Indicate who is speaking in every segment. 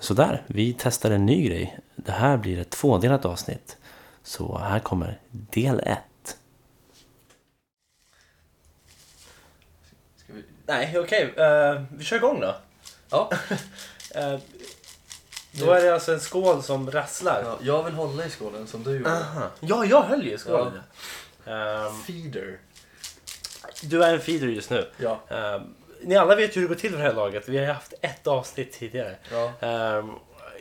Speaker 1: Sådär, vi testar en ny grej. Det här blir ett tvådelat avsnitt. Så här kommer del ett.
Speaker 2: Ska vi...
Speaker 3: Nej, okej. eh, vi kör igång då.
Speaker 2: ja.
Speaker 3: Eh, då är det alltså en skål som rasslar.
Speaker 2: ja, jag vill hålla i skålen som du gjorde.
Speaker 3: Aha. Ja, jag höll ju i skålen. Ehm,
Speaker 2: Feeder.
Speaker 3: du är en feeder just nu.
Speaker 2: Ja.
Speaker 3: Ehm, ni alla vet ju hur det går till för det här laget. Vi har ju haft ett avsnitt tidigare.
Speaker 2: ja.
Speaker 3: Ehm,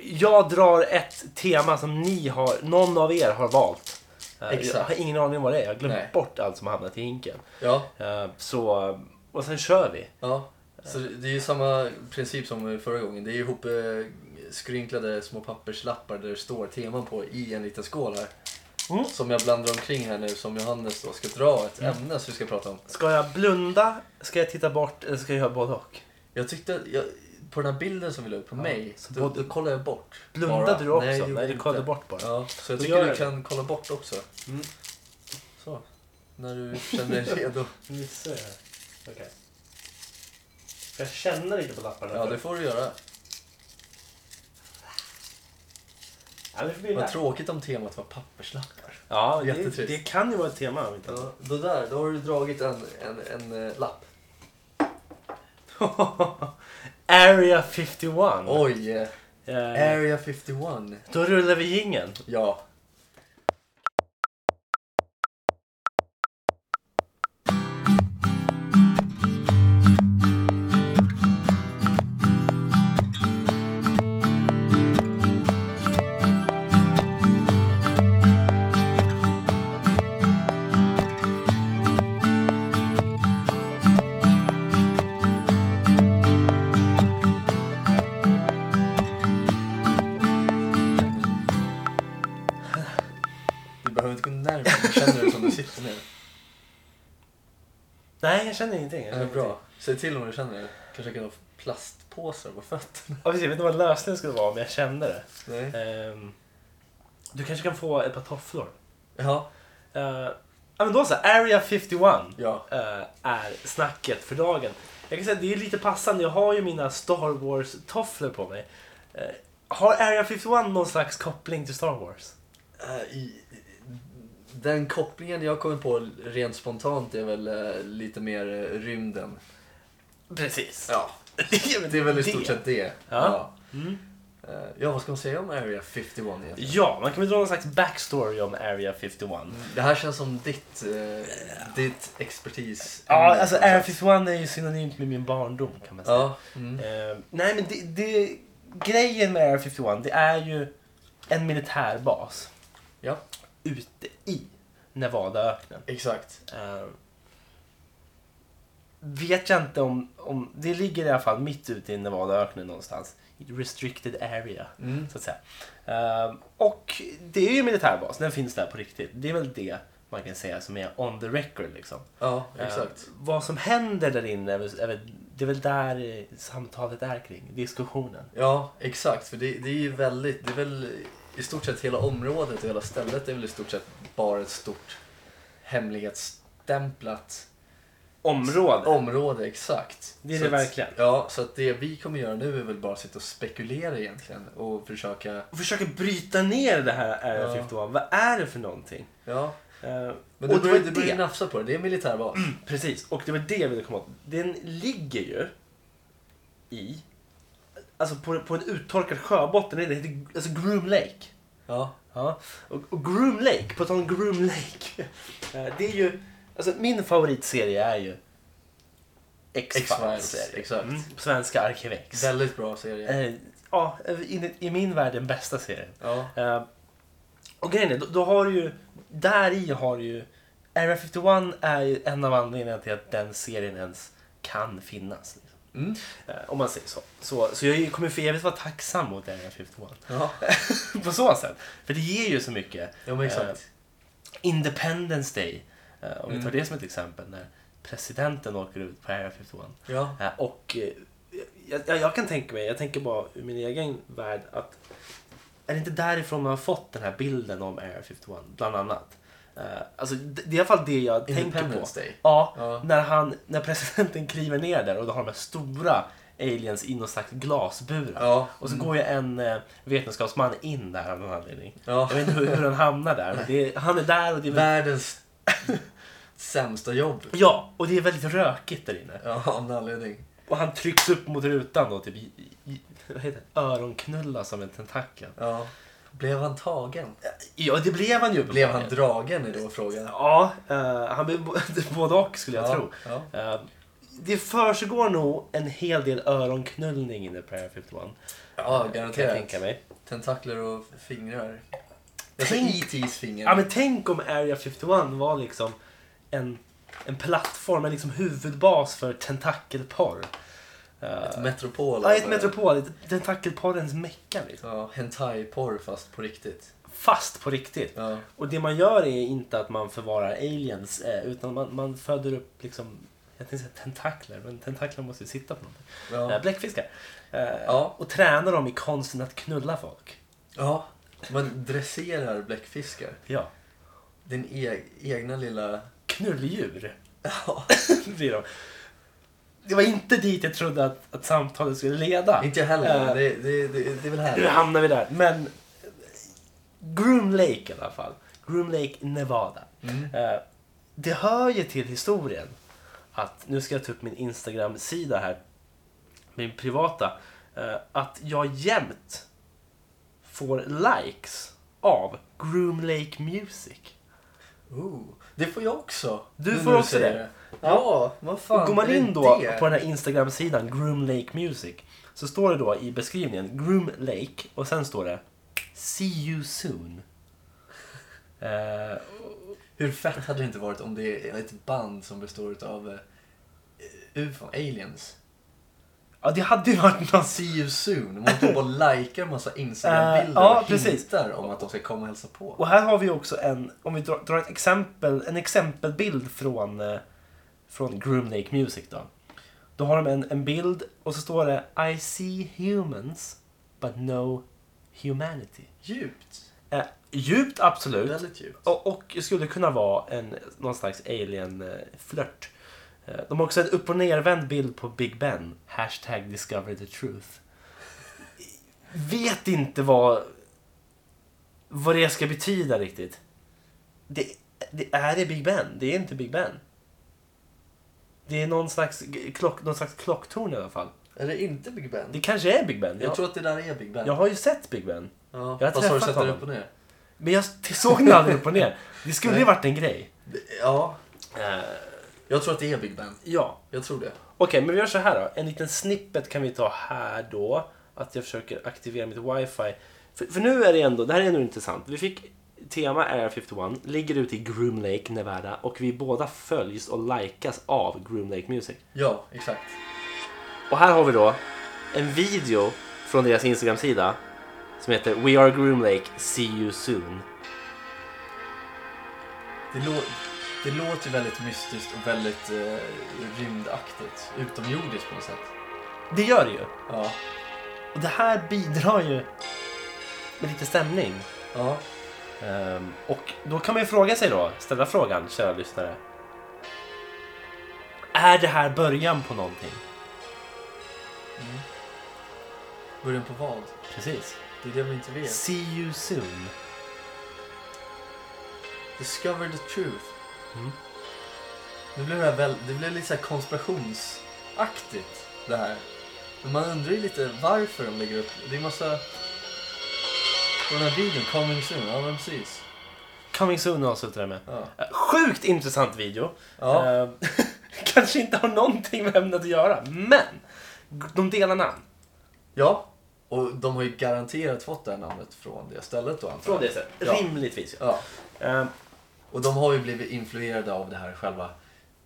Speaker 3: jag drar ett tema som ni har, någon av er har valt. Eh, Jag
Speaker 2: Exakt.
Speaker 3: har ingen aning om vad det är. Jag har glömt
Speaker 2: Nej.
Speaker 3: bort allt som har hamnat i hinken.
Speaker 2: Ja.
Speaker 3: Ehm, så, och sen kör vi.
Speaker 2: ja. Så det det är ju samma princip som förra gången. Det är ju ihop eh, skrynklade små papperslappar där det står teman på i en liten skål här.
Speaker 3: Mm.
Speaker 2: Som jag blandar omkring här nu som Johannes då ska dra ett ämne som vi ska prata om.
Speaker 3: Ska jag blunda? Ska jag titta bort? Eller ska jag göra både och?
Speaker 2: Jag tyckte att jag, på den här bilden som vi la upp på mig,
Speaker 3: så
Speaker 2: då,
Speaker 3: både-
Speaker 2: då kollade jag bort.
Speaker 3: Blundade
Speaker 2: bara.
Speaker 3: du också?
Speaker 2: jag
Speaker 3: Nej,
Speaker 2: gjorde
Speaker 3: du
Speaker 2: inte.
Speaker 3: kollade bort bara.
Speaker 2: Ja, så jag
Speaker 3: Då
Speaker 2: tycker
Speaker 3: gör
Speaker 2: du
Speaker 3: jag det.
Speaker 2: kan kolla bort också.
Speaker 3: Mm.
Speaker 2: Så, när du känner dig redo.
Speaker 3: Nu ser jag här. Okej. Ska jag känna lite på lapparna?
Speaker 2: Ja, det får du göra.
Speaker 3: ja, det får bli
Speaker 2: Vad
Speaker 3: där.
Speaker 2: tråkigt om temat var papperslappar.
Speaker 3: Ja, det,
Speaker 2: Jättetrist.
Speaker 3: det kan ju vara ett tema. om Inte.
Speaker 2: Ja, då där, då har du dragit en, en, en eh, lapp.
Speaker 3: Area 51.
Speaker 2: Oj! eh,
Speaker 3: Eh,
Speaker 2: Area 51.
Speaker 3: då rullar vi jingeln.
Speaker 2: Ja. Du behöver inte gå närmare. Jag Känner du som du sitter ner?
Speaker 3: Nej, jag känner ingenting. Jag
Speaker 2: Det
Speaker 3: känner
Speaker 2: är bra. Eh, Säg till om du känner det. Kanske kan ha plastpåsar på fötterna.
Speaker 3: Ja, precis, jag vet inte vad lösningen skulle vara om jag kände det.
Speaker 2: Nej.
Speaker 3: Ehm, du kanske kan få ett par tofflor.
Speaker 2: Ja.
Speaker 3: Eh, ja, men då så. Area 51.
Speaker 2: Ja.
Speaker 3: eh, är snacket för dagen. Jag kan säga att det är lite passande. Jag har ju mina Star Wars-tofflor på mig. Eh, har Area 51 någon slags koppling till Star Wars?
Speaker 2: Eh, i- Den kopplingen jag kommer på rent spontant är väl eh, lite mer eh, rymden.
Speaker 3: Precis.
Speaker 2: Ja.
Speaker 3: Det
Speaker 2: Det är väl i stort sett det.
Speaker 3: Ja. Mm.
Speaker 2: Ja. Eh, ja, vad ska man säga om Area 51 egentligen?
Speaker 3: Ja, man kan väl dra någon slags backstory om Area 51.
Speaker 2: Det här känns som ditt, eh, ditt expertis.
Speaker 3: Ja, alltså Area 51 är ju synonymt med min barndom kan man säga.
Speaker 2: Ja. Mm.
Speaker 3: Eh, nej, men det, det, grejen med Area 51 det är ju en militärbas
Speaker 2: ja,
Speaker 3: ute i Nevadaöknen.
Speaker 2: exakt.
Speaker 3: Eh, vet jag inte om, om... Det ligger i alla fall mitt ute i Nevadaöknen någonstans. I Restricted area,
Speaker 2: Mm.
Speaker 3: så att säga. Eh, och det är ju militärbas, den finns där på riktigt. Det är väl det man kan säga som är on the record liksom.
Speaker 2: Ja,
Speaker 3: Eh,
Speaker 2: exakt.
Speaker 3: vad som händer där inne, är väl- är väl- det är väl där eh, samtalet är kring, diskussionen.
Speaker 2: Ja, exakt. För det, det är ju väldigt, det är väl i stort sett hela området och hela stället är väl i stort sett bara ett stort hemlighetsstämplat
Speaker 3: Området.
Speaker 2: område, exakt.
Speaker 3: Det är
Speaker 2: Så
Speaker 3: det
Speaker 2: att-
Speaker 3: verkligen.
Speaker 2: Ja, så att det vi kommer göra nu är väl bara att sitta och spekulera egentligen och försöka,
Speaker 3: Och försöker bryta ner det här Area
Speaker 2: Ja.
Speaker 3: 51. Vad är det för någonting?
Speaker 2: ja.
Speaker 3: Eh,
Speaker 2: Men du
Speaker 3: och Mm. det
Speaker 2: börjar,
Speaker 3: var
Speaker 2: du börjar
Speaker 3: det.
Speaker 2: nafsa på det, det är en militärbas.
Speaker 3: Precis, och det var det jag ville komma åt. Den ligger ju i... Alltså på, på en uttorkad sjöbotten. Det heter alltså Groom Lake.
Speaker 2: Ja,
Speaker 3: Ja. Och, och Groom Lake, på tal om Groom Lake. eh, Det är ju... Alltså min favoritserie är ju
Speaker 2: X-Files,
Speaker 3: X-Files.
Speaker 2: exakt.
Speaker 3: På svenska Arkivex.
Speaker 2: Väldigt bra serie.
Speaker 3: Mm. Eh, Ja, i, i min värld den bästa serien.
Speaker 2: Ja,
Speaker 3: Eh, och grejen är, då, då har du ju, där i har du ju, Area 51 är ju en av anledningarna till att den serien ens kan finnas. Liksom.
Speaker 2: mm.
Speaker 3: Eh, om man säger så. Så, så jag kommer för evigt vara tacksam mot Area 51.
Speaker 2: ja.
Speaker 3: På så sätt. För det ger ju så mycket.
Speaker 2: ja men
Speaker 3: Eh,
Speaker 2: exakt.
Speaker 3: Independence Day, eh, om vi tar
Speaker 2: Mm.
Speaker 3: det som ett exempel, när presidenten åker ut på Area 51.
Speaker 2: Ja,
Speaker 3: Eh, Och eh, jag, jag, jag kan tänka mig, jag tänker bara ur min egen värld att är det inte därifrån man har fått den här bilden om Area 51 bland annat? Eh, Alltså, det det är i alla fall det jag tänker på. Mm.
Speaker 2: Independence Day.
Speaker 3: Ja,
Speaker 2: Ja.
Speaker 3: När, han, när presidenten kliver ner där och då har de här stora aliens i någon slags glasburar.
Speaker 2: Ja.
Speaker 3: Och så går ju en eh, vetenskapsman in där av någon anledning.
Speaker 2: Ja.
Speaker 3: Jag vet inte hur, hur han hamnar där. Men det är, han är där och det är väl,
Speaker 2: Världens sämsta jobb.
Speaker 3: Ja, och det är väldigt rökigt där inne.
Speaker 2: Ja, av någon anledning.
Speaker 3: Och han trycks upp mot rutan och typ i, i, vad heter det? öronknullas av en tentakel.
Speaker 2: Ja. Blev han tagen?
Speaker 3: Ja, det blev han ju
Speaker 2: Blev han
Speaker 3: uppenbarligen.
Speaker 2: dragen är då frågan.
Speaker 3: Ja, eh, han blev bo- både och skulle jag
Speaker 2: Ja,
Speaker 3: tro.
Speaker 2: ja.
Speaker 3: Eh, det försiggår nog en hel del öronknullning inne på Area 51.
Speaker 2: Ja,
Speaker 3: Kan jag
Speaker 2: garanterat.
Speaker 3: tänka mig.
Speaker 2: Tentakler och fingrar. Jag sa
Speaker 3: Tänk-
Speaker 2: E.T.s fingrar.
Speaker 3: Ja, men tänk om Area 51 var liksom en, en plattform, en liksom huvudbas för tentakelporr. Eh,
Speaker 2: Ett metropol.
Speaker 3: Ja, ett
Speaker 2: av,
Speaker 3: metropol. ett Tentakelporrens mecka liksom.
Speaker 2: Ja, hentai-porr fast på riktigt.
Speaker 3: Fast på riktigt.
Speaker 2: Ja.
Speaker 3: Och det man gör är inte att man förvarar aliens eh, utan man, man föder upp liksom jag tänkte säga tentakler, men tentakler måste ju sitta på någonting.
Speaker 2: Ja.
Speaker 3: Eh, Bläckfiskar. Eh,
Speaker 2: Ja.
Speaker 3: Och tränar dem i konsten att knulla folk.
Speaker 2: ja. Man dresserar bläckfiskar.
Speaker 3: Ja.
Speaker 2: Din e- egna lilla...
Speaker 3: Knulldjur
Speaker 2: Ja.
Speaker 3: blir de. Det var inte dit jag trodde att, att samtalet skulle leda.
Speaker 2: Inte jag heller.
Speaker 3: Eh,
Speaker 2: men Det, det, det, det är väl
Speaker 3: Nu
Speaker 2: här.
Speaker 3: hamnar vi där. Men Groom Lake i alla fall. Groom Lake, Nevada. Eh, det hör ju till historien att, nu ska jag ta upp min Instagram-sida här, min privata, eh, att jag jämt får likes av Groom Lake Music.
Speaker 2: Ooh. Det får jag också.
Speaker 3: Du
Speaker 2: nu
Speaker 3: får
Speaker 2: när
Speaker 3: också
Speaker 2: säger
Speaker 3: det.
Speaker 2: Ja, vad fan.
Speaker 3: Och går man
Speaker 2: är det
Speaker 3: in då
Speaker 2: det?
Speaker 3: på den här Instagram-sidan Groom Lake Music så står det då i beskrivningen Groom Lake och sen står det See you soon. Eh,
Speaker 2: Hur fett hade det inte varit om det är ett band som består av eh, UFO, aliens?
Speaker 3: ja, det hade ju varit något.
Speaker 2: See you soon. Man håller på och likar en massa Instagram-bilder
Speaker 3: Eh, ja,
Speaker 2: och
Speaker 3: precis.
Speaker 2: hintar om att de ska komma och hälsa på.
Speaker 3: Och här har vi också en, om vi drar, drar ett exempel, en exempelbild från, eh, från Groom Lake Music då. Då har de en, en bild och så står det I see humans but no humanity.
Speaker 2: Djupt.
Speaker 3: Eh, djupt absolut.
Speaker 2: Väldigt djupt.
Speaker 3: Och, och skulle kunna vara en, någon slags alien-flört. Eh, De har också en upp och nervänd bild på Big Ben. Hashtag discover the truth. Vet inte vad, vad det ska betyda riktigt. Det, det är det Big Ben? Det är inte Big Ben. Det är någon slags, g- klock, någon slags klocktorn i alla fall.
Speaker 2: Är det inte Big Ben?
Speaker 3: Det kanske är Big Ben.
Speaker 2: Jag
Speaker 3: Jag,
Speaker 2: tror att det där är Big Ben.
Speaker 3: jag har ju sett Big Ben.
Speaker 2: ja.
Speaker 3: jag har
Speaker 2: Fast har du
Speaker 3: träffat
Speaker 2: sett den
Speaker 3: honom.
Speaker 2: upp och ner?
Speaker 3: Men jag såg den aldrig upp och ner. Det skulle ju
Speaker 2: Nej.
Speaker 3: varit en grej.
Speaker 2: Ja,
Speaker 3: Eh,
Speaker 2: jag tror att det är Big Ben.
Speaker 3: Ja,
Speaker 2: Jag tror det.
Speaker 3: okej men vi gör så här då. En liten snippet kan vi ta här då. Att jag försöker aktivera mitt wifi. För, för nu är det ändå, det här är ändå intressant. Vi fick tema Area 51, ligger ute i Groom Lake, Nevada och vi båda följs och likas av Groom Lake Music.
Speaker 2: Ja, exakt.
Speaker 3: Och här har vi då en video från deras Instagram-sida som heter We are Groom Lake, see you soon.
Speaker 2: Det, lå- det låter ju väldigt mystiskt och väldigt eh, rymdaktigt. Utomjordiskt på något sätt.
Speaker 3: Det gör det ju.
Speaker 2: Ja.
Speaker 3: Och det här bidrar ju med lite stämning.
Speaker 2: Ja.
Speaker 3: Ehm, och då kan man ju fråga sig då, ställa frågan, kära lyssnare. Är det här början på någonting?
Speaker 2: Mm. Början på vad?
Speaker 3: Precis.
Speaker 2: Det är det vi inte vet.
Speaker 3: See you soon.
Speaker 2: Discover the truth.
Speaker 3: Mm.
Speaker 2: Det blev, det här väl, det blev lite så här konspirationsaktigt det här. Men man undrar ju lite varför de lägger upp. Det är massa... På den här videon, coming soon. Ja, men precis.
Speaker 3: Coming soon avslutar jag med.
Speaker 2: Ja.
Speaker 3: Eh, Sjukt intressant video.
Speaker 2: Ja.
Speaker 3: Ehm, kanske inte har någonting med ämnet att göra, men de delar namn.
Speaker 2: ja. Och de har ju garanterat fått det här namnet från det stället då antar jag.
Speaker 3: sättet.
Speaker 2: Ja.
Speaker 3: Rimligtvis. Ja.
Speaker 2: Ja.
Speaker 3: Ehm,
Speaker 2: Och de har ju blivit influerade av det här själva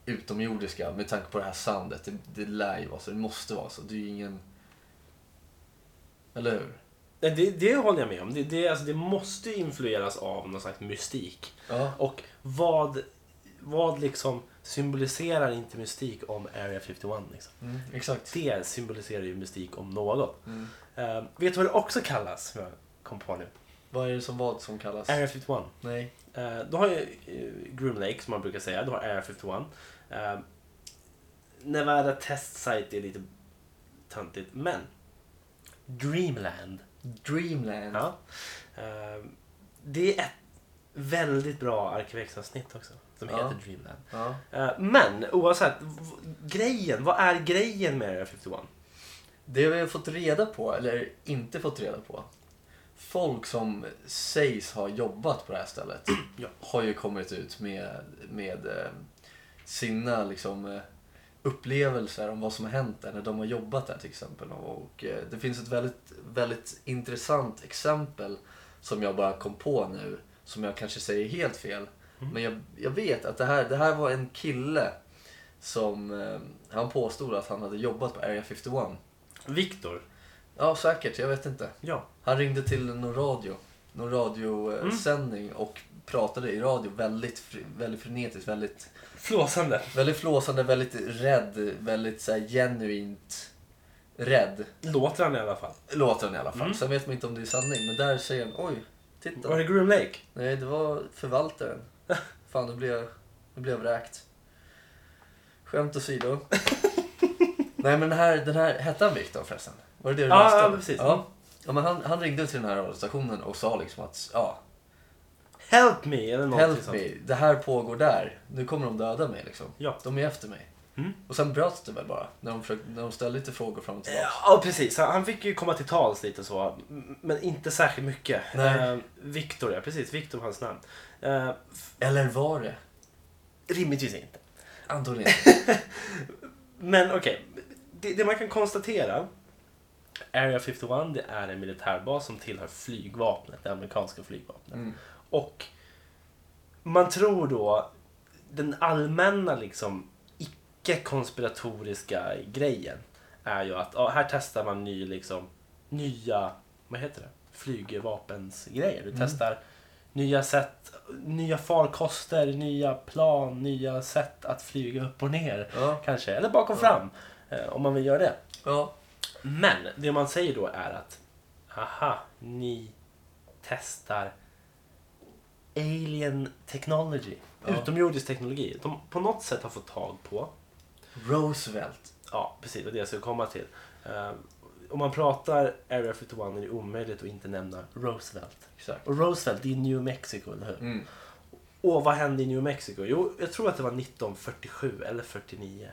Speaker 2: utomjordiska med tanke på det här soundet. Det, det lär ju vara så. Det måste vara så. Det är ju ingen... Eller hur?
Speaker 3: nej, det, det håller jag med om. Det, det, alltså, det måste ju influeras av någon slags mystik.
Speaker 2: Ja.
Speaker 3: Och vad, vad liksom symboliserar inte mystik om Area 51? Liksom?
Speaker 2: Mm, exakt.
Speaker 3: Det symboliserar ju mystik om något.
Speaker 2: Mm.
Speaker 3: Eh, vet du vad det också kallas? Som jag kom på nu.
Speaker 2: Vad är det som vad som kallas?
Speaker 3: Area 51.
Speaker 2: Nej.
Speaker 3: Uh, då har ju eh, Groom Lake som man brukar säga. Eh, Du har Area 51. Uh, Nevada Test Site är lite töntigt. Men Dreamland.
Speaker 2: Dreamland.
Speaker 3: Ja. Eh, det är ett väldigt bra arkivexavsnitt också. Som
Speaker 2: Ja.
Speaker 3: heter Dreamland.
Speaker 2: Ja.
Speaker 3: Eh, men oavsett. v- Grejen. Vad är grejen med Area 51?
Speaker 2: Det vi har fått reda på, eller inte fått reda på. Folk som sägs ha jobbat på det här stället
Speaker 3: Ja.
Speaker 2: har ju kommit ut med, med eh, sina liksom, eh, upplevelser om vad som har hänt där när de har jobbat där till exempel. Och, eh, det finns ett väldigt, väldigt intressant exempel som jag bara kom på nu som jag kanske säger helt fel. Men jag, jag vet att det här, det här var en kille som eh, han påstod att han hade jobbat på Area 51.
Speaker 3: Viktor.
Speaker 2: Ja, säkert. Jag vet inte.
Speaker 3: Ja.
Speaker 2: Han ringde till någon radio. Någon radiosändning och pratade i radio väldigt, fr- väldigt frenetiskt, väldigt,
Speaker 3: Flåsande.
Speaker 2: väldigt flåsande, väldigt rädd, väldigt så här, genuint rädd.
Speaker 3: Låter han i alla fall.
Speaker 2: Låter han i alla fall.
Speaker 3: Mm.
Speaker 2: Sen vet man inte om det är sanning, men där säger han oj,
Speaker 3: Var
Speaker 2: titta.
Speaker 3: det Groom Lake?
Speaker 2: Nej, det var förvaltaren. Fan, nu blev jag, nu blev jag vräkt. Skämt åsido. Nej, men den här, den här, hette han Viktor förresten? Var det det du
Speaker 3: Ja,
Speaker 2: läste?
Speaker 3: ja,
Speaker 2: eller?
Speaker 3: precis.
Speaker 2: Ja. Ja, men han, han ringde till den här radiostationen och sa liksom att ja,
Speaker 3: Help me eller någonting
Speaker 2: help me, det här pågår där. Nu kommer de döda mig liksom.
Speaker 3: Ja.
Speaker 2: De är efter mig.
Speaker 3: Mm.
Speaker 2: Och sen bröts det väl bara när de, försökte, när de ställde lite frågor fram och tillbaka.
Speaker 3: Ja precis, han han fick ju komma till tals lite så. m- Men inte särskilt mycket.
Speaker 2: Nej.
Speaker 3: Eh, Viktor ja, precis. Viktor var hans namn. Eh, f-
Speaker 2: Eller var det?
Speaker 3: rimligtvis inte.
Speaker 2: Antonina.
Speaker 3: Men okej, det, det man kan konstatera. Area 51 det är en militärbas som tillhör flygvapnet, det amerikanska flygvapnet.
Speaker 2: Mm.
Speaker 3: Och man tror då den allmänna liksom icke-konspiratoriska grejen är ju att ja, här testar man ny, liksom, nya vad heter det? flygvapensgrejer.
Speaker 2: Mm.
Speaker 3: Du testar nya sätt, nya farkoster, nya plan, nya sätt att flyga upp och ner
Speaker 2: Ja.
Speaker 3: kanske. Eller bakom fram eh, om man vill göra det.
Speaker 2: ja.
Speaker 3: Men det man säger då är att aha, ni testar alien technology.
Speaker 2: Ja.
Speaker 3: Utomjordisk teknologi. De på något sätt har fått tag på.
Speaker 2: Roosevelt.
Speaker 3: Ja, precis. Det är det jag skulle komma till. Eh, om man pratar Area 51 är det omöjligt att inte nämna Roosevelt.
Speaker 2: Exakt.
Speaker 3: Och Roosevelt, det är New Mexico, eller hur?
Speaker 2: Mm.
Speaker 3: Och vad hände i New Mexico? Jo, jag tror att det var 1947 eller 49.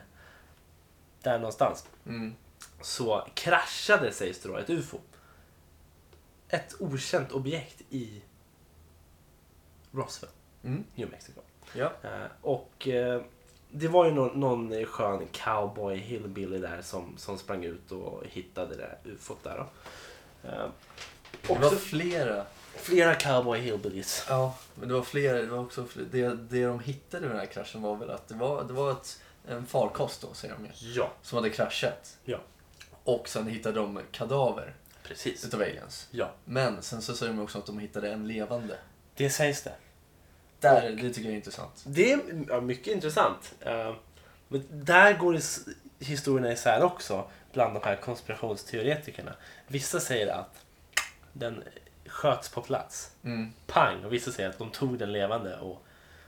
Speaker 3: Där någonstans
Speaker 2: Mm.
Speaker 3: så kraschade, sägs det då, ett UFO. Ett okänt objekt i Roswell,
Speaker 2: Mm.
Speaker 3: New Mexico.
Speaker 2: Ja.
Speaker 3: Eh, och eh, det var ju någon, någon skön cowboy hillbilly där som, som sprang ut och hittade det där ufot där då. Eh,
Speaker 2: Det var
Speaker 3: också
Speaker 2: flera.
Speaker 3: flera cowboy hillbillies.
Speaker 2: Ja, men det var flera. Det, var också fler, det, det de hittade med den här kraschen var väl att det var, det var ett, en farkost då, säger de ju,
Speaker 3: Ja,
Speaker 2: som hade kraschat.
Speaker 3: ja,
Speaker 2: Och sen hittade de kadaver
Speaker 3: precis.
Speaker 2: utav aliens.
Speaker 3: Ja,
Speaker 2: Men sen så säger de också att de hittade en levande.
Speaker 3: det sägs det.
Speaker 2: Där, det tycker jag är intressant.
Speaker 3: Det är ja, mycket intressant. Eh, Men där går is- historierna isär också bland de här konspirationsteoretikerna. Vissa säger att den sköts på plats.
Speaker 2: Mm.
Speaker 3: Pang! Och vissa säger att de tog den levande och,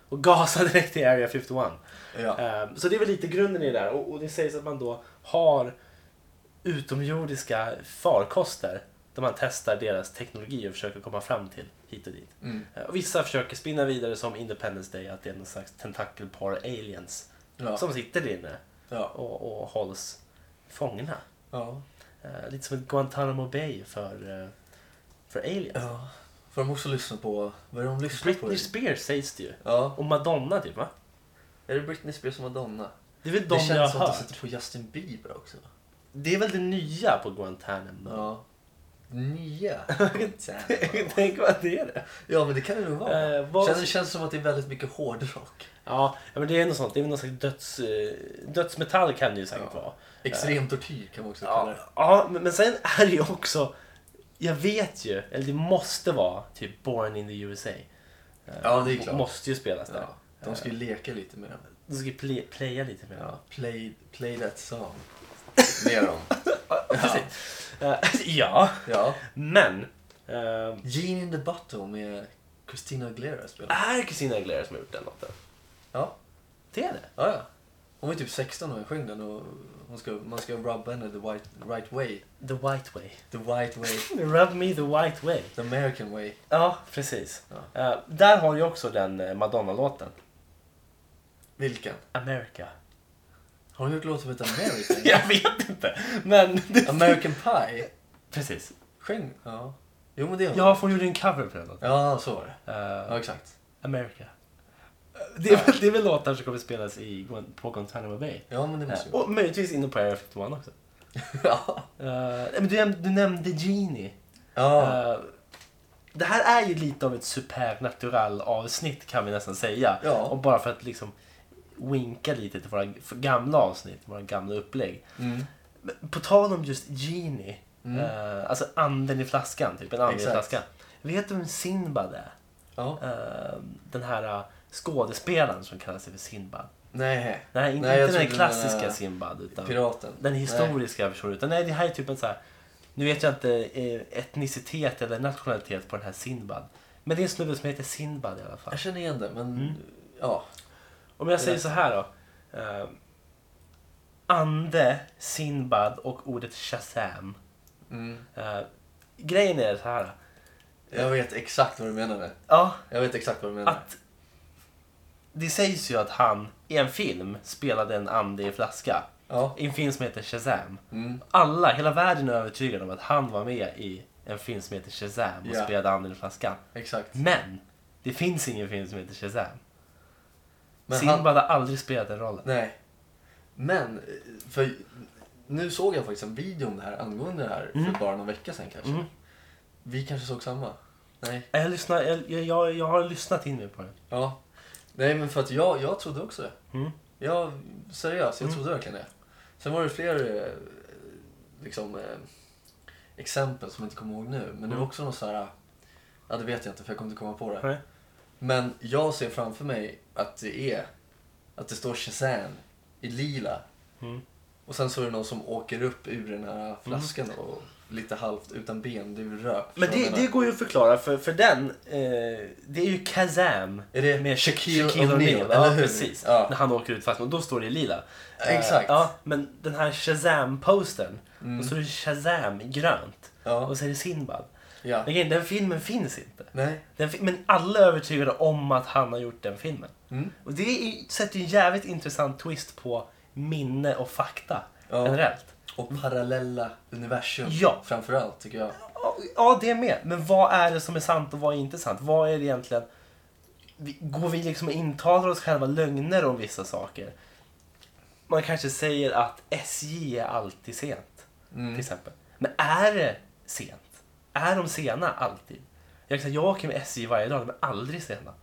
Speaker 3: och gasade direkt till Area 51.
Speaker 2: Ja.
Speaker 3: Eh, Så det är väl lite grunden i det där. Och, och det sägs att man då har utomjordiska farkoster där man testar deras teknologi och försöker komma fram till hit och dit.
Speaker 2: Mm.
Speaker 3: Eh, Och vissa försöker spinna vidare som Independence Day, att det är någon slags tentakelpar aliens
Speaker 2: Ja.
Speaker 3: som sitter där inne
Speaker 2: Ja.
Speaker 3: och, och hålls fångna.
Speaker 2: Ja.
Speaker 3: Eh, lite som ett Guantanamo Bay för, eh, för aliens.
Speaker 2: ja. Får de också lyssna på... Vad är det de lyssnar på?
Speaker 3: Britney Spears sägs det ju.
Speaker 2: Ja.
Speaker 3: Och Madonna typ va?
Speaker 2: Är det Britney Spears och Madonna?
Speaker 3: Det är Mm. väl
Speaker 2: det
Speaker 3: de jag
Speaker 2: känns som
Speaker 3: har
Speaker 2: att de
Speaker 3: hört.
Speaker 2: sätter på Justin Bieber också.
Speaker 3: Det är väl det nya på Guantanamo.
Speaker 2: Ja. Nya.
Speaker 3: Tänk vad det är det.
Speaker 2: ja, men det kan det nog vara.
Speaker 3: Eh, vad...
Speaker 2: Känns, det känns som att det är väldigt mycket hårdrock.
Speaker 3: Ja, ja, men det är något sånt. Det är väl någon slags döds, eh, dödsmetall kan det ju säkert
Speaker 2: Ja.
Speaker 3: vara.
Speaker 2: Extrem tortyr kan man också kalla
Speaker 3: Ja,
Speaker 2: det.
Speaker 3: Typ, ja men, men sen är det ju också... Jag vet ju, eller det måste vara typ Born in the USA. Eh,
Speaker 2: Ja, det är klart.
Speaker 3: Måste ju spelas där.
Speaker 2: Ja. De ska ju leka lite med den.
Speaker 3: De ska ju play, playa lite med
Speaker 2: Ja. Play, play that song. Med dem.
Speaker 3: den. Eh, ja,
Speaker 2: Ja.
Speaker 3: men... eh,
Speaker 2: Gene in the Bottle med Christina Aguilera spelar.
Speaker 3: är Christina Aguilera som har gjort den låten?
Speaker 2: Ja.
Speaker 3: Det är det?
Speaker 2: Ja, ja. Hon var ju typ 16 när hon sjöng den och Hon ska, man ska rubba henne the white, right way.
Speaker 3: The white way.
Speaker 2: The white way.
Speaker 3: Rub me the white way.
Speaker 2: The American way.
Speaker 3: Ja, precis.
Speaker 2: Ja.
Speaker 3: Eh, där har jag också den eh, Madonna-låten.
Speaker 2: Vilken?
Speaker 3: America.
Speaker 2: Har hon gjort låt som heter American?
Speaker 3: Jag vet inte. Men...
Speaker 2: American Pie?
Speaker 3: precis.
Speaker 2: Sjöng? Ja. Jo men det har hon.
Speaker 3: Ja, för hon gjorde en cover på den låten.
Speaker 2: Ja, så var det.
Speaker 3: Eh,
Speaker 2: Ja, exakt.
Speaker 3: America. Eh, Det är, väl, det är väl låtar som kommer spelas i, på Guantanamo Bay.
Speaker 2: Ja, men det måste
Speaker 3: Eh,
Speaker 2: ju vara.
Speaker 3: och möjligtvis inne på Air 51 också.
Speaker 2: Ja.
Speaker 3: Eh, nej, men du, näm- du nämnde Genie.
Speaker 2: Ja.
Speaker 3: Eh, det här är ju lite av ett supernatural avsnitt kan vi nästan säga.
Speaker 2: Ja.
Speaker 3: Och bara för att liksom winka lite till våra gamla avsnitt, våra gamla upplägg.
Speaker 2: Mm.
Speaker 3: Men på tal om just Genie,
Speaker 2: Mm.
Speaker 3: eh, alltså anden i flaskan, typ en anden i
Speaker 2: Exakt.
Speaker 3: flaskan. Vet du vem Sinbad är?
Speaker 2: Ja.
Speaker 3: Eh, den här eh, skådespelaren som kallar sig för Sinbad.
Speaker 2: Nej.
Speaker 3: Nej, inte,
Speaker 2: Nej, jag
Speaker 3: inte den
Speaker 2: trodde du menade
Speaker 3: klassiska Sinbad. Utan
Speaker 2: Piraten.
Speaker 3: den historiska versionen. Utan nej, det här är typ en så här. Nu vet jag inte eh, etnicitet eller nationalitet på den här Sinbad. Men det är en snubbe som heter Sinbad i alla fall.
Speaker 2: Jag känner igen det, men
Speaker 3: Mm.
Speaker 2: ja.
Speaker 3: Om jag säger så här då. Eh, ande, Sinbad och ordet Shazam.
Speaker 2: Mm.
Speaker 3: Eh, grejen är så här.
Speaker 2: Jag vet exakt vad du menade.
Speaker 3: Ja,
Speaker 2: Jag vet exakt vad du menar.
Speaker 3: att... Det sägs ju att han i en film spelade en ande i en flaska.
Speaker 2: Ja.
Speaker 3: I en film som heter Shazam.
Speaker 2: Mm.
Speaker 3: Alla, hela världen är övertygad om att han var med i en film som heter Shazam och
Speaker 2: Ja.
Speaker 3: spelade anden i flaskan.
Speaker 2: Exakt.
Speaker 3: Men! Det finns ingen film som heter Shazam.
Speaker 2: Men
Speaker 3: Sinbad
Speaker 2: han-
Speaker 3: har aldrig spelat den rollen.
Speaker 2: Nej. Men, för nu såg jag faktiskt en video om det här angående det här
Speaker 3: Mm.
Speaker 2: för bara någon vecka sedan kanske.
Speaker 3: Mm.
Speaker 2: Vi kanske såg samma. Nej.
Speaker 3: Jag, lyssnar, jag, jag- jag, jag har lyssnat in mig på den.
Speaker 2: Ja. Nej men för att jag, jag trodde också det.
Speaker 3: Mm.
Speaker 2: Jag, seriöst, jag
Speaker 3: Mm.
Speaker 2: trodde verkligen det. Sen var det fler eh, liksom, eh, exempel som jag inte kommer ihåg nu. Men det
Speaker 3: Mm.
Speaker 2: var också någon så här... Ja, det vet jag inte för jag kommer inte komma på det.
Speaker 3: Nej.
Speaker 2: Men jag ser framför mig att det är... Att det står Shazam i lila.
Speaker 3: Mm.
Speaker 2: Och sen så är det någon som åker upp ur den här flaskan och lite halvt utan ben. Det är ju rök.
Speaker 3: Mm. Men
Speaker 2: Så
Speaker 3: det,
Speaker 2: jag menar,
Speaker 3: det går ju att förklara för, för den, eh, det är ju Kazam.
Speaker 2: Är det
Speaker 3: med Shaquille,
Speaker 2: Shaquille
Speaker 3: Shaquille O'Neal.
Speaker 2: O'Neal,
Speaker 3: Ja,
Speaker 2: eller hur?
Speaker 3: precis.
Speaker 2: Ja.
Speaker 3: När han åker ut fast, och då står det i lila. Eh,
Speaker 2: Exakt.
Speaker 3: Ja, men den här Shazam-postern,
Speaker 2: Mm.
Speaker 3: då står det Shazam i grönt.
Speaker 2: Ja.
Speaker 3: Och så är det Sinbad.
Speaker 2: ja.
Speaker 3: Men grejen, den filmen finns inte.
Speaker 2: Nej.
Speaker 3: Den, fi- men alla är övertygade om att han har gjort den filmen.
Speaker 2: Mm.
Speaker 3: Och det är, sätter ju en jävligt intressant twist på minne och fakta
Speaker 2: Ja.
Speaker 3: generellt.
Speaker 2: Och parallella universum
Speaker 3: Ja.
Speaker 2: framförallt tycker jag.
Speaker 3: Ja, det är med. Men vad är det som är sant och vad är inte sant? Vad är det egentligen? Vi- Går vi liksom och intalar oss själva lögner om vissa saker? Man kanske säger att SJ är alltid sent, till
Speaker 2: Mm.
Speaker 3: exempel. Men är det sent? Är de sena alltid? Jag, kan säga, jag åker med SJ varje dag, de är aldrig sena.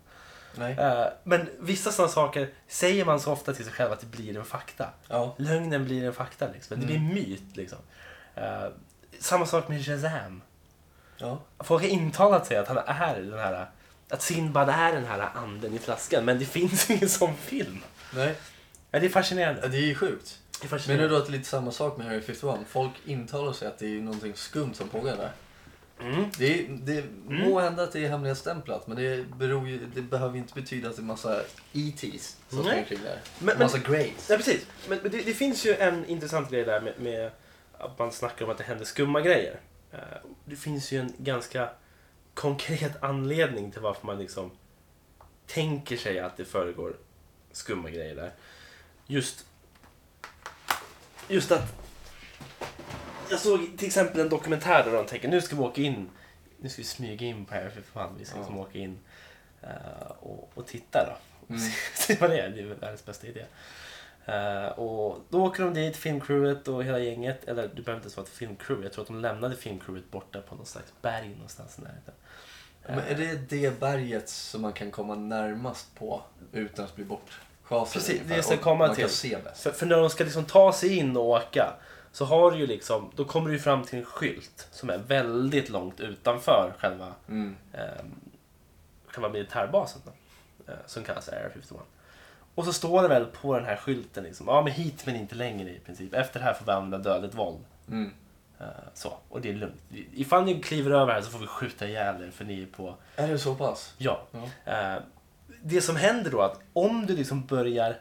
Speaker 2: Nej.
Speaker 3: Eh, Men vissa sådana saker säger man så ofta till sig själv att det blir en fakta.
Speaker 2: Ja. Mm.
Speaker 3: Lögnen blir en fakta, liksom. det blir en myt. Liksom. Eh, Samma sak med Shazam.
Speaker 2: Ja.
Speaker 3: Folk har intalat sig att han är den här... Att Sinbad är den här anden i flaskan, men det finns ingen sån film.
Speaker 2: Nej.
Speaker 3: Ja, det är
Speaker 2: Ja,
Speaker 3: fascinerande.
Speaker 2: Det är ju sjukt.
Speaker 3: Det är
Speaker 2: Men nu
Speaker 3: fascinerande.
Speaker 2: då att det är lite samma sak med Harry 51. Folk intalar sig att det är någonting skumt som pågår där.
Speaker 3: Mm.
Speaker 2: Det, är, det må hända att det är hemligstämplat men det, beror ju, det behöver ju inte betyda att det är massa E.T.s som
Speaker 3: Nej.
Speaker 2: springer kring där.
Speaker 3: Men-
Speaker 2: massa Greys.
Speaker 3: Ja, precis. Men men det, det finns ju en intressant grej där med, med att man snackar om att det händer skumma grejer. Eh, Det finns ju en ganska konkret anledning till varför man liksom tänker sig att det föregår skumma grejer där. Just, just att... Jag såg till exempel en dokumentär där de tänker nu ska vi åka in, nu ska vi smyga in på här för fan, vi ska
Speaker 2: Ja.
Speaker 3: liksom åka in eh, och, och titta då.
Speaker 2: Mm.
Speaker 3: Se vad det är, det är väl världens bästa idé. Eh, och då åker de dit, filmcrewet och hela gänget. Eller det behöver inte ens vara ett filmcrew. Jag tror att de lämnade filmcrewet borta på någon slags berg någonstans i närheten. Eh,
Speaker 2: Men är det det berget som man kan komma närmast på utan att bli bortschasad?
Speaker 3: Precis,
Speaker 2: ungefär?
Speaker 3: det ska
Speaker 2: Och
Speaker 3: komma
Speaker 2: Man
Speaker 3: till.
Speaker 2: kan se bäst.
Speaker 3: För, för när de ska liksom ta sig in och åka så har du ju liksom, då kommer du ju fram till en skylt som är väldigt långt utanför själva,
Speaker 2: Mm.
Speaker 3: eh, själva militärbasen. Då, eh, som kallas Air 51. Och så står det väl på den här skylten liksom, ja men hit men inte längre i princip. Efter det här får vi använda dödligt våld.
Speaker 2: Mm.
Speaker 3: Eh, Så, och det är lugnt. Ifall ni kliver över här så får vi skjuta ihjäl er för ni är på...
Speaker 2: Är det så pass?
Speaker 3: Ja.
Speaker 2: Ja.
Speaker 3: Eh, Det som händer då är att om du liksom börjar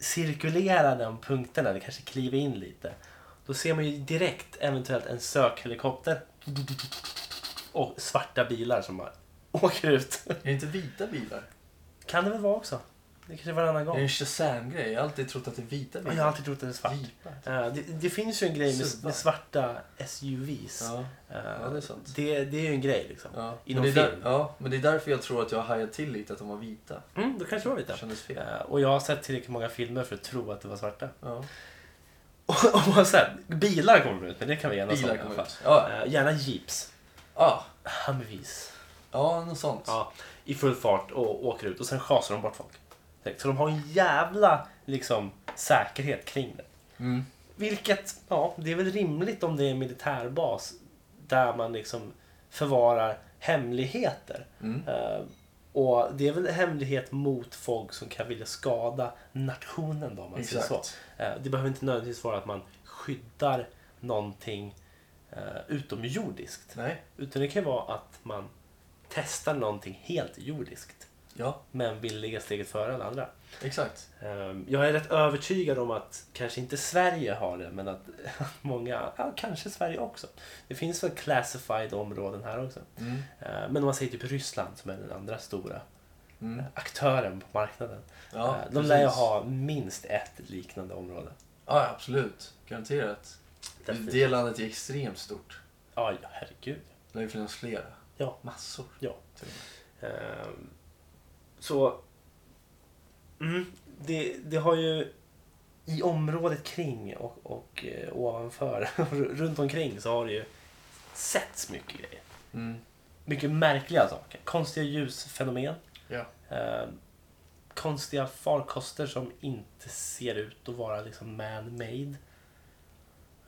Speaker 3: cirkulera de punkterna, eller kanske kliva in lite. Då ser man ju direkt eventuellt en sökhelikopter och svarta bilar som bara åker ut.
Speaker 2: Är det inte vita bilar?
Speaker 3: Kan det väl vara också? Det kanske är varannan
Speaker 2: Är det
Speaker 3: gång.
Speaker 2: en Shazam-grej? Jag har alltid trott att det är vita
Speaker 3: Men
Speaker 2: bilar.
Speaker 3: jag har alltid trott att den är svart.
Speaker 2: Jeepar.
Speaker 3: Eh, det, det finns ju en grej med, med svarta SUVs.
Speaker 2: Ja.
Speaker 3: Eh,
Speaker 2: det är sant.
Speaker 3: Det, det är ju en grej liksom.
Speaker 2: Ja. Men,
Speaker 3: Inom
Speaker 2: det är där,
Speaker 3: film.
Speaker 2: ja, men det är därför jag tror att jag hajade till lite att de var vita.
Speaker 3: Mm, då kanske det var vita.
Speaker 2: Det kändes fel.
Speaker 3: Eh, och jag har sett tillräckligt många filmer för att tro att det var svarta.
Speaker 2: Ja.
Speaker 3: Och- Oavsett, bilar kommer ut, men det kan vi enas om
Speaker 2: Bilar
Speaker 3: i alla
Speaker 2: kom
Speaker 3: fall.
Speaker 2: ut. Ja,
Speaker 3: Eh, gärna jeeps,
Speaker 2: ja.
Speaker 3: Humvees,
Speaker 2: Ah, ja något sånt.
Speaker 3: ja, i full fart och åker ut och sen schasar de bort folk. Direkt. Så de har en jävla liksom, säkerhet kring det.
Speaker 2: Mm.
Speaker 3: Vilket, ja, det är väl rimligt om det är en militärbas där man liksom förvarar hemligheter.
Speaker 2: Mm.
Speaker 3: Eh, och det är väl hemlighet mot folk som kan vilja skada nationen då, om man säger så.
Speaker 2: Exakt.
Speaker 3: Eh, Det behöver inte nödvändigtvis vara att man skyddar någonting eh, utomjordiskt.
Speaker 2: Nej.
Speaker 3: Utan det kan ju vara att man testar någonting helt jordiskt.
Speaker 2: Ja,
Speaker 3: Men vill ligga steget före alla andra.
Speaker 2: exakt.
Speaker 3: Eh, Jag är rätt övertygad om att kanske inte Sverige har det, men att många, ja, kanske Sverige också. Det finns väl classified områden här också.
Speaker 2: Mm.
Speaker 3: Eh, Men om man säger typ Ryssland som är den andra stora
Speaker 2: Mm.
Speaker 3: aktören på marknaden.
Speaker 2: Ja,
Speaker 3: Eh, De
Speaker 2: precis.
Speaker 3: lär ju ha minst ett liknande område.
Speaker 2: Ja, absolut. Garanterat.
Speaker 3: Definitivt.
Speaker 2: Det landet är extremt stort.
Speaker 3: Ja, ja, herregud.
Speaker 2: Det lär ju finnas flera.
Speaker 3: Ja.
Speaker 2: Massor.
Speaker 3: Ja.
Speaker 2: till och med.
Speaker 3: Ehm, så... Mm, det, det har ju... I området kring och, och eh, ovanför, runt omkring så har det ju setts mycket grejer.
Speaker 2: Mm.
Speaker 3: Mycket märkliga saker. Konstiga ljusfenomen.
Speaker 2: Ja.
Speaker 3: ehm, konstiga farkoster som inte ser ut att vara liksom man-made.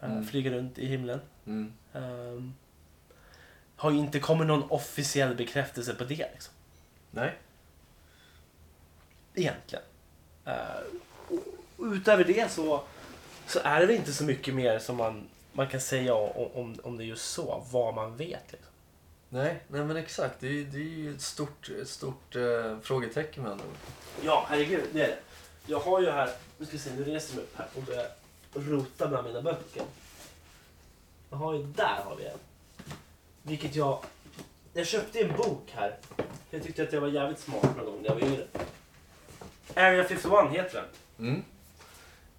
Speaker 3: Ehm,
Speaker 2: Mm.
Speaker 3: Flyger runt i himlen.
Speaker 2: Mm.
Speaker 3: Ehm, har ju inte kommit någon officiell bekräftelse på det. Liksom
Speaker 2: Nej.
Speaker 3: egentligen. Eh, och utöver det så, så är det väl inte så mycket mer som man, man kan säga om, om, om det just så, vad man vet. Liksom.
Speaker 2: Nej, nej men exakt. Det är, det är ju ett stort, ett stort eh, frågetecken med andra ord.
Speaker 3: Ja, herregud, det är det. Jag har ju här, nu ska vi se, nu reser jag mig upp här och börjar rota bland mina böcker. Jag har ju, där har vi en. Vilket jag, jag köpte en bok här. Jag tyckte att jag var jävligt smart någon gång när jag var yngre. Area 51 heter den.
Speaker 2: Mm.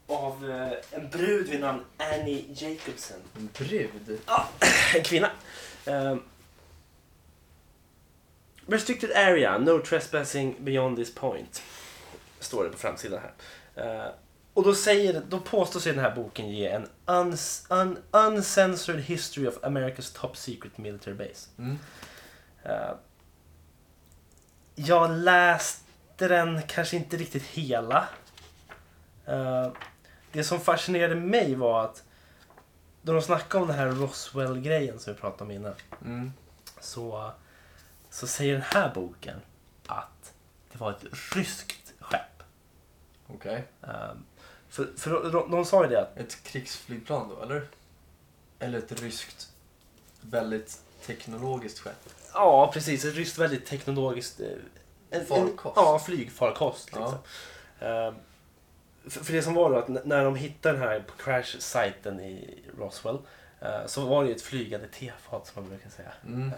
Speaker 3: Av eh, en brud vid namn Annie Jacobsen.
Speaker 2: En brud.
Speaker 3: en kvinna. Um, restricted area, no trespassing beyond this point. Står det på framsidan här. Eh, och då, säger, då påstås ju den här boken ge en uns, un, uncensored history of America's top secret military base.
Speaker 2: Mm.
Speaker 3: Eh, jag läste den kanske inte riktigt hela. Eh, det som fascinerade mig var att då de snackade om den här Roswell-grejen som vi pratade om innan
Speaker 2: Mm.
Speaker 3: så, så säger den här boken att det var ett ryskt skepp.
Speaker 2: Okej.
Speaker 3: Eh, för, för de, de sa ju det att
Speaker 2: Ett krigsflygplan då, eller? Eller ett ryskt, väldigt teknologiskt skepp.
Speaker 3: Ja, precis. Ett ryskt väldigt teknologiskt... eh, En,
Speaker 2: Farkost.
Speaker 3: En, ja, flygfarkost. Liksom. Ehm, för, för det som var då att n- när de hittade den här på crash-sajten i Roswell eh, så var det ju ett flygande tefat som man brukar säga.
Speaker 2: Mm.
Speaker 3: Eh,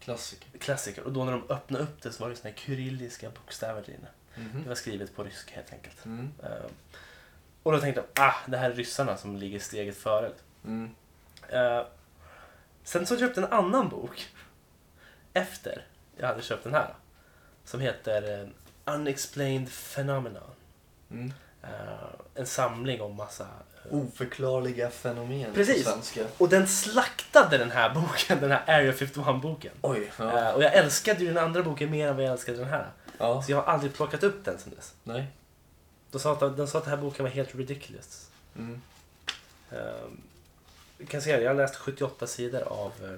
Speaker 2: Klassiker.
Speaker 3: klassiker. Och då när de öppnade upp det så var det såna här kyrilliska bokstäver där inne. Det
Speaker 2: Mhm.
Speaker 3: var skrivet på ryska helt enkelt.
Speaker 2: Mm.
Speaker 3: Ehm, och då tänkte de, ah, det här är ryssarna som ligger steget före.
Speaker 2: Mm.
Speaker 3: Eh, sen så köpte jag en annan bok efter jag hade köpt den här. Som heter eh, Unexplained Phenomena.
Speaker 2: Mm.
Speaker 3: Eh, en samling om massa...
Speaker 2: Oförklarliga fenomen
Speaker 3: Precis.
Speaker 2: på svenska.
Speaker 3: Och den slaktade den här boken, den här Area 51-boken.
Speaker 2: Oj. Ja.
Speaker 3: Eh, och jag älskade ju den andra boken mer än vad jag älskade den här.
Speaker 2: ja.
Speaker 3: Så jag har aldrig plockat upp den sen dess.
Speaker 2: Nej.
Speaker 3: De sa att, den sa att den här boken var helt ridiculous.
Speaker 2: Mm.
Speaker 3: Eh, vi kan se, jag har läst 78 sidor av, eh,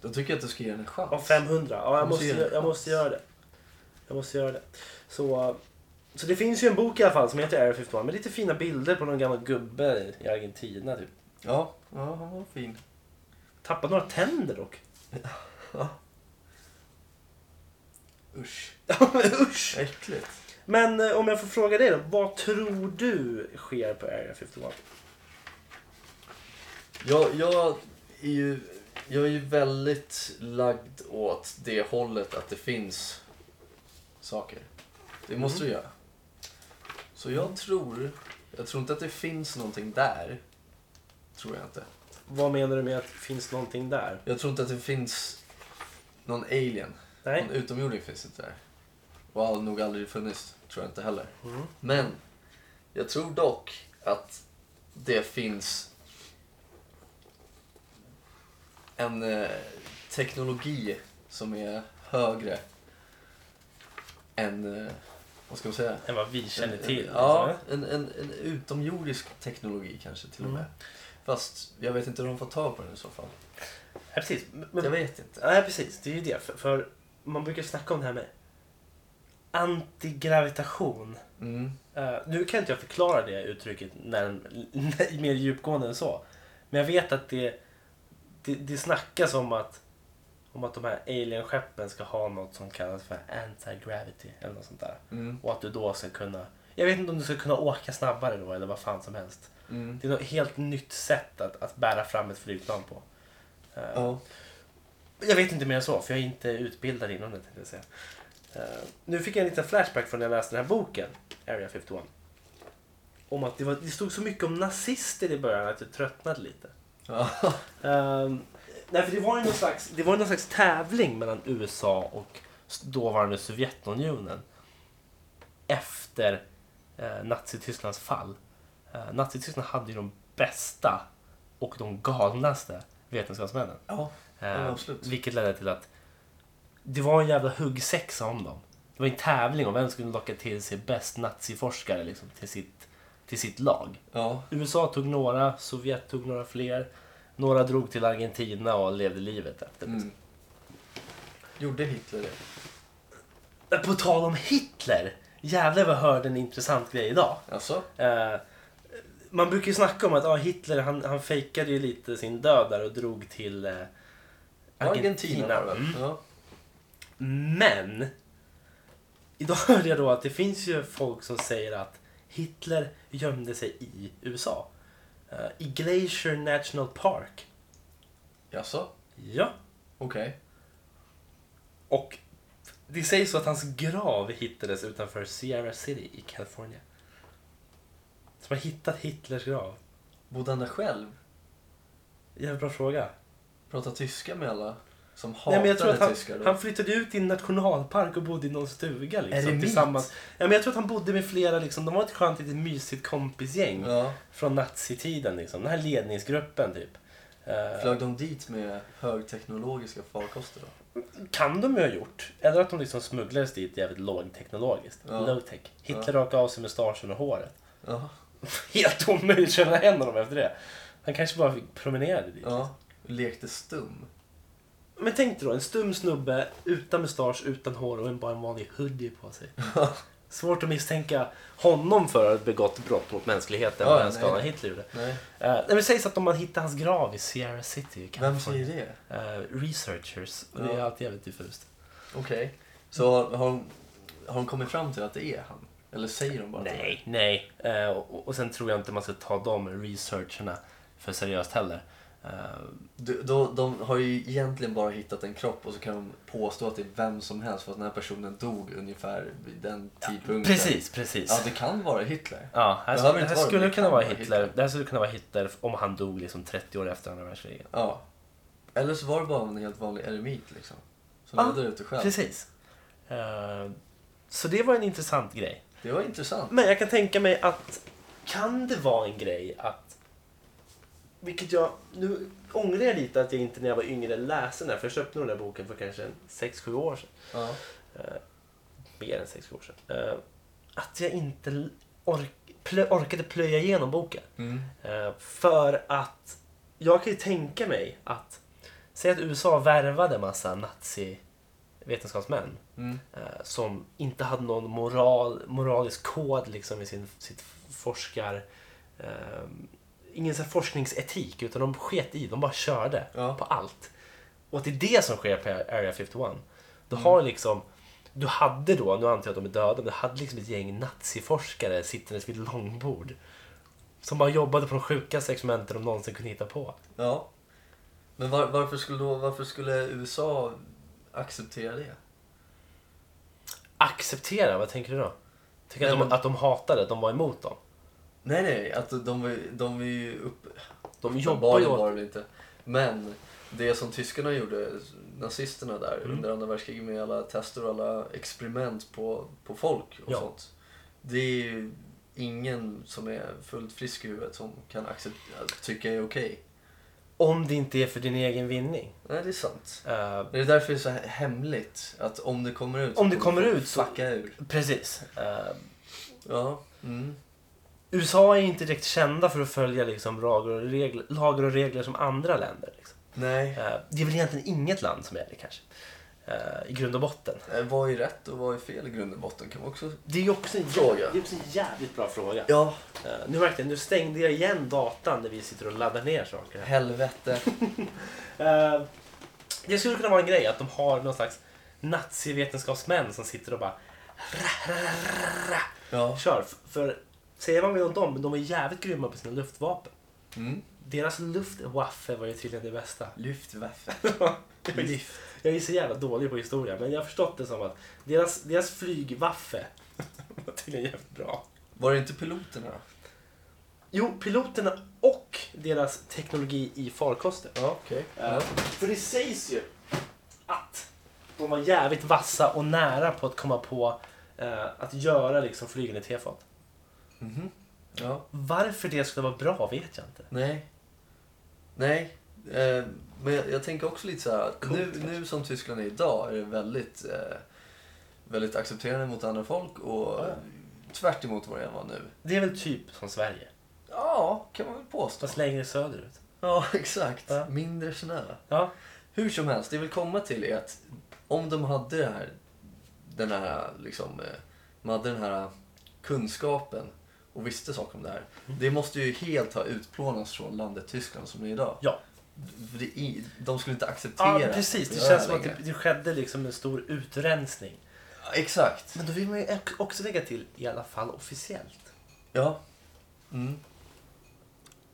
Speaker 2: Då tycker jag att du ska ge den en chans.
Speaker 3: av 500. Ja, jag
Speaker 2: Du
Speaker 3: måste,
Speaker 2: ser.
Speaker 3: gö- jag måste göra det. Jag måste göra det. Så, så det finns ju en bok i alla fall som heter Area 51 med lite fina bilder på någon gammal gubbe i Argentina. Typ.
Speaker 2: Ja, ja han var fin.
Speaker 3: Tappat några tänder dock.
Speaker 2: Usch.
Speaker 3: Ja, men Usch!
Speaker 2: Äckligt.
Speaker 3: Men eh, om jag får fråga dig då, vad tror du sker på Area 51?
Speaker 2: Jag, jag är ju... Jag är ju väldigt lagd åt det hållet att det finns saker. Det måste du göra. Så jag tror... Jag tror inte att det finns någonting där. Tror jag inte.
Speaker 3: Vad menar du med att det finns någonting där?
Speaker 2: Jag tror inte att det finns någon alien.
Speaker 3: Nej?
Speaker 2: Någon utomjording finns inte där. Och har nog aldrig funnits, tror jag inte heller.
Speaker 3: Mm.
Speaker 2: Men jag tror dock att det finns en eh, teknologi som är högre än, eh, vad ska man säga?
Speaker 3: Än vad vi känner till.
Speaker 2: Ja,
Speaker 3: alltså.
Speaker 2: en, en, en utomjordisk teknologi kanske till och med. Fast jag vet inte hur de får tag på den i så fall.
Speaker 3: ja precis. Men,
Speaker 2: Jag vet inte.
Speaker 3: Nej, precis. Det är ju det. För, för man brukar snacka om det här med antigravitation.
Speaker 2: Mm.
Speaker 3: Eh, nu kan inte jag förklara det uttrycket när, mer djupgående än så. Men jag vet att det, det, det snackas om att, om att de här alienskeppen ska ha något som kallas för anti-gravity eller något sånt där.
Speaker 2: Mm.
Speaker 3: Och att du då ska kunna, jag vet inte om du ska kunna åka snabbare då eller vad fan som helst.
Speaker 2: Mm.
Speaker 3: Det är något helt nytt sätt att, att bära fram ett flygplan på. Eh,
Speaker 2: Ja.
Speaker 3: jag vet inte mer än så, för jag är inte utbildad inom det tänkte jag säga. Eh, nu fick jag en liten flashback från när jag läste den här boken, Area 51. Om att det, var, det stod så mycket om nazister i början att jag tröttnade lite.
Speaker 2: Ja.
Speaker 3: Um, nej, för det var ju någon slags, det var ju någon slags tävling mellan USA och s- dåvarande Sovjetunionen efter eh, Nazitysklands fall. Eh, Nazityskland hade ju de bästa och de galnaste vetenskapsmännen.
Speaker 2: Ja.
Speaker 3: Eh,
Speaker 2: Ja, absolut.
Speaker 3: Vilket ledde till att det var en jävla huggsexa om dem. Det var en tävling om vem som skulle locka till sig bäst naziforskare liksom, till, sitt, till sitt lag.
Speaker 2: Ja.
Speaker 3: USA tog några, Sovjet tog några fler. Några drog till Argentina och levde livet efter.
Speaker 2: Mm. Gjorde Hitler det?
Speaker 3: Men På tal om Hitler! Jävlar vad jag hörde en intressant grej idag.
Speaker 2: Alltså?
Speaker 3: Eh, man brukar ju snacka om att ah, Hitler han, han fejkade ju lite sin död där och drog till eh,
Speaker 2: Argentina var det.
Speaker 3: Mm.
Speaker 2: Ja.
Speaker 3: Men! Idag hörde jag då att det finns ju folk som säger att Hitler gömde sig i USA. Eh, I Glacier National Park.
Speaker 2: Jaså?
Speaker 3: Ja.
Speaker 2: Okej.
Speaker 3: Och det sägs så att hans grav hittades utanför Sierra City i Kalifornien. Så man har hittat Hitlers grav.
Speaker 2: Bodde han där själv?
Speaker 3: Jävligt bra fråga.
Speaker 2: Pratade tyska med alla som hatade
Speaker 3: Nej, men jag tror att han,
Speaker 2: tyskar då?
Speaker 3: han flyttade ut i en nationalpark och bodde i någon stuga. Liksom,
Speaker 2: Eremit.
Speaker 3: tillsammans. Ja, men jag tror att han bodde med flera. Liksom, de var ett skönt litet mysigt kompisgäng.
Speaker 2: Ja.
Speaker 3: från nazitiden. Liksom. Den här ledningsgruppen typ. Eh,
Speaker 2: Flög de dit med högteknologiska farkoster då?
Speaker 3: kan de ju ha gjort. Eller att de liksom smugglades dit jävligt lågteknologiskt.
Speaker 2: Ja.
Speaker 3: Low-tech. Hitler
Speaker 2: Ja.
Speaker 3: rakade av sig mustaschen och håret.
Speaker 2: Ja.
Speaker 3: Helt omöjligt att känna igen honom efter det. Han kanske bara fick promenerade dit.
Speaker 2: ja. Lekte stum.
Speaker 3: Men tänk dig då, en stum snubbe utan mustasch, utan hår och en- bara en vanlig hoodie på sig. Svårt att misstänka honom för att ha begått brott mot mänskligheten
Speaker 2: Ja,
Speaker 3: på den
Speaker 2: nej.
Speaker 3: skalan Hitler gjorde.
Speaker 2: Nej.
Speaker 3: Eh, nej, men det sägs att om man hittar hans grav i Sierra City i
Speaker 2: Vem
Speaker 3: Kalifornien.
Speaker 2: säger det?
Speaker 3: Eh, researchers. Och det är
Speaker 2: Ja.
Speaker 3: alltid jävligt diffust.
Speaker 2: Okej. Så har, har, de, har de kommit fram till att det är han? Eller säger de bara att det är
Speaker 3: Nej, nej. Eh, och, och sen tror jag inte man ska ta de researcherna för seriöst heller. Eh,
Speaker 2: Du, då, de har ju egentligen bara hittat en kropp och så kan de påstå att det är vem som helst för att den här personen dog ungefär vid den tidpunkten.
Speaker 3: precis, precis.
Speaker 2: Ja,
Speaker 3: Ja,
Speaker 2: det kan vara Hitler.
Speaker 3: här,
Speaker 2: Behöver
Speaker 3: skulle,
Speaker 2: inte
Speaker 3: här
Speaker 2: vara
Speaker 3: skulle
Speaker 2: det,
Speaker 3: kunna
Speaker 2: kan
Speaker 3: vara
Speaker 2: vara
Speaker 3: Hitler.
Speaker 2: Hitler.
Speaker 3: Det här skulle kunna vara Hitler om han dog liksom 30 år efter andra världskriget.
Speaker 2: Ja. Eller så var det bara en helt vanlig eremit liksom. Som
Speaker 3: Ja,
Speaker 2: levde ute själv.
Speaker 3: Precis. Eh, så det var en intressant grej.
Speaker 2: Det var intressant.
Speaker 3: Men jag kan tänka mig att kan det vara en grej att vilket jag, nu ångrar jag lite att jag inte när jag var yngre läste den här, för jag köpte nog den här boken för kanske en 6-7 år sedan. Eh,
Speaker 2: Ja.
Speaker 3: Mer än 6-7 år sedan. Eh, att jag inte l- ork, plö, orkade plöja igenom boken.
Speaker 2: Mm.
Speaker 3: Eh, för att jag kan ju tänka mig att, säg att USA värvade massa nazi-vetenskapsmän
Speaker 2: Mm.
Speaker 3: eh, som inte hade någon moral, moralisk kod liksom i sin, sitt forskar... Eh, ingen så här forskningsetik, utan de sket i, de bara körde
Speaker 2: Ja. Mm.
Speaker 3: på allt. Och att det är det som sker på Area 51. Du har liksom du hade då, nu antar jag att de är döda, men du hade liksom ett gäng naziforskare sittandes vid ett långbord. Som bara jobbade på de sjukaste experimenten de någonsin kunde hitta på.
Speaker 2: Ja. Men var, varför, skulle då, varför skulle USA acceptera det?
Speaker 3: Acceptera, vad tänker du då? Tänker du
Speaker 2: Nej,
Speaker 3: att, de,
Speaker 2: men-
Speaker 3: att de hatade, att de var emot dem?
Speaker 2: Nej, nej, att de, var ju- de är ju upp...
Speaker 3: De jobbar ju
Speaker 2: Uppenbarligen var
Speaker 3: åt...
Speaker 2: de inte. Men det som tyskarna gjorde, nazisterna där,
Speaker 3: Mm.
Speaker 2: under andra världskriget med alla tester och alla experiment på, på folk och
Speaker 3: Ja.
Speaker 2: sånt. Det är ju ingen som är fullt frisk i huvudet som kan acceptera, tycka är okej.
Speaker 3: Om det inte är för din egen vinning.
Speaker 2: Nej, det är sant.
Speaker 3: Eh,
Speaker 2: Det är därför det är så he- hemligt. Att om det kommer ut
Speaker 3: Om det kommer
Speaker 2: folk
Speaker 3: ut så-
Speaker 2: Fucka ur.
Speaker 3: precis. Eh,
Speaker 2: Ja. Mm.
Speaker 3: USA är inte direkt kända för att följa liksom lagar, och regler, lagar och regler som andra länder. Liksom.
Speaker 2: Nej.
Speaker 3: Eh, det är väl egentligen inget land som är det kanske. Eh, I grund och botten.
Speaker 2: Eh, Vad är rätt och vad är fel i grund och botten kan man också...
Speaker 3: Det är ju också en
Speaker 2: Fråga.
Speaker 3: Det är också en jävligt bra fråga.
Speaker 2: Ja.
Speaker 3: Eh, nu märkte jag, nu stängde jag igen datan där vi sitter och laddar ner saker. här.
Speaker 2: Helvete.
Speaker 3: Eh, det skulle kunna vara en grej att de har någon slags nazivetenskapsmän som sitter och bara
Speaker 2: Ja.
Speaker 3: kör. F- För säger man väl om dem, men de är jävligt grymma på sina luftvapen.
Speaker 2: Mm.
Speaker 3: Deras luftwaffe var ju tydligen det bästa.
Speaker 2: Lyftvaffe.
Speaker 3: Jag är- Jag är så jävla dålig på historia, men jag har förstått det som att deras, deras flygwaffe var tydligen jävligt bra.
Speaker 2: Var det inte piloterna då?
Speaker 3: Jo, piloterna och deras teknologi i farkosten.
Speaker 2: Ja, okej.
Speaker 3: Eh, För det sägs ju att de var jävligt vassa och nära på att komma på eh, att göra liksom flygande tefat.
Speaker 2: Mhm. Ja.
Speaker 3: Varför det skulle vara bra vet jag inte.
Speaker 2: Nej. Nej. Eh, men jag, jag tänker också lite så här att
Speaker 3: Coolt,
Speaker 2: nu,
Speaker 3: kanske.
Speaker 2: nu som Tyskland är idag är det väldigt, eh, väldigt accepterande mot andra folk och
Speaker 3: Ja.
Speaker 2: tvärt emot vad det var nu.
Speaker 3: Det är väl typ som Sverige,
Speaker 2: Ja, kan man väl påstå.
Speaker 3: fast längre söderut.
Speaker 2: Ja, exakt.
Speaker 3: Ja.
Speaker 2: Mindre snö.
Speaker 3: Ja,
Speaker 2: Hur som helst, det jag vill komma till är att om de hade det här, den här, liksom, eh, de hade den här kunskapen och visste saker om det här.
Speaker 3: Mm.
Speaker 2: Det måste ju helt ha utplånats från landet Tyskland som det är idag.
Speaker 3: ja.
Speaker 2: För det är, de skulle inte acceptera
Speaker 3: ja precis.
Speaker 2: att
Speaker 3: Det
Speaker 2: göra
Speaker 3: känns som att
Speaker 2: längre.
Speaker 3: det, det skedde liksom en stor utrensning.
Speaker 2: Ja, Exakt.
Speaker 3: Men då vill man ju ek- också lägga till i alla fall officiellt.
Speaker 2: Ja. Mm.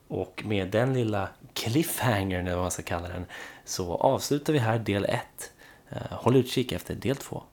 Speaker 1: Och med den lilla
Speaker 3: Eh,
Speaker 1: cliffhangern, eller vad man ska kalla den, så avslutar vi här del 1. Håll utkik efter del 2.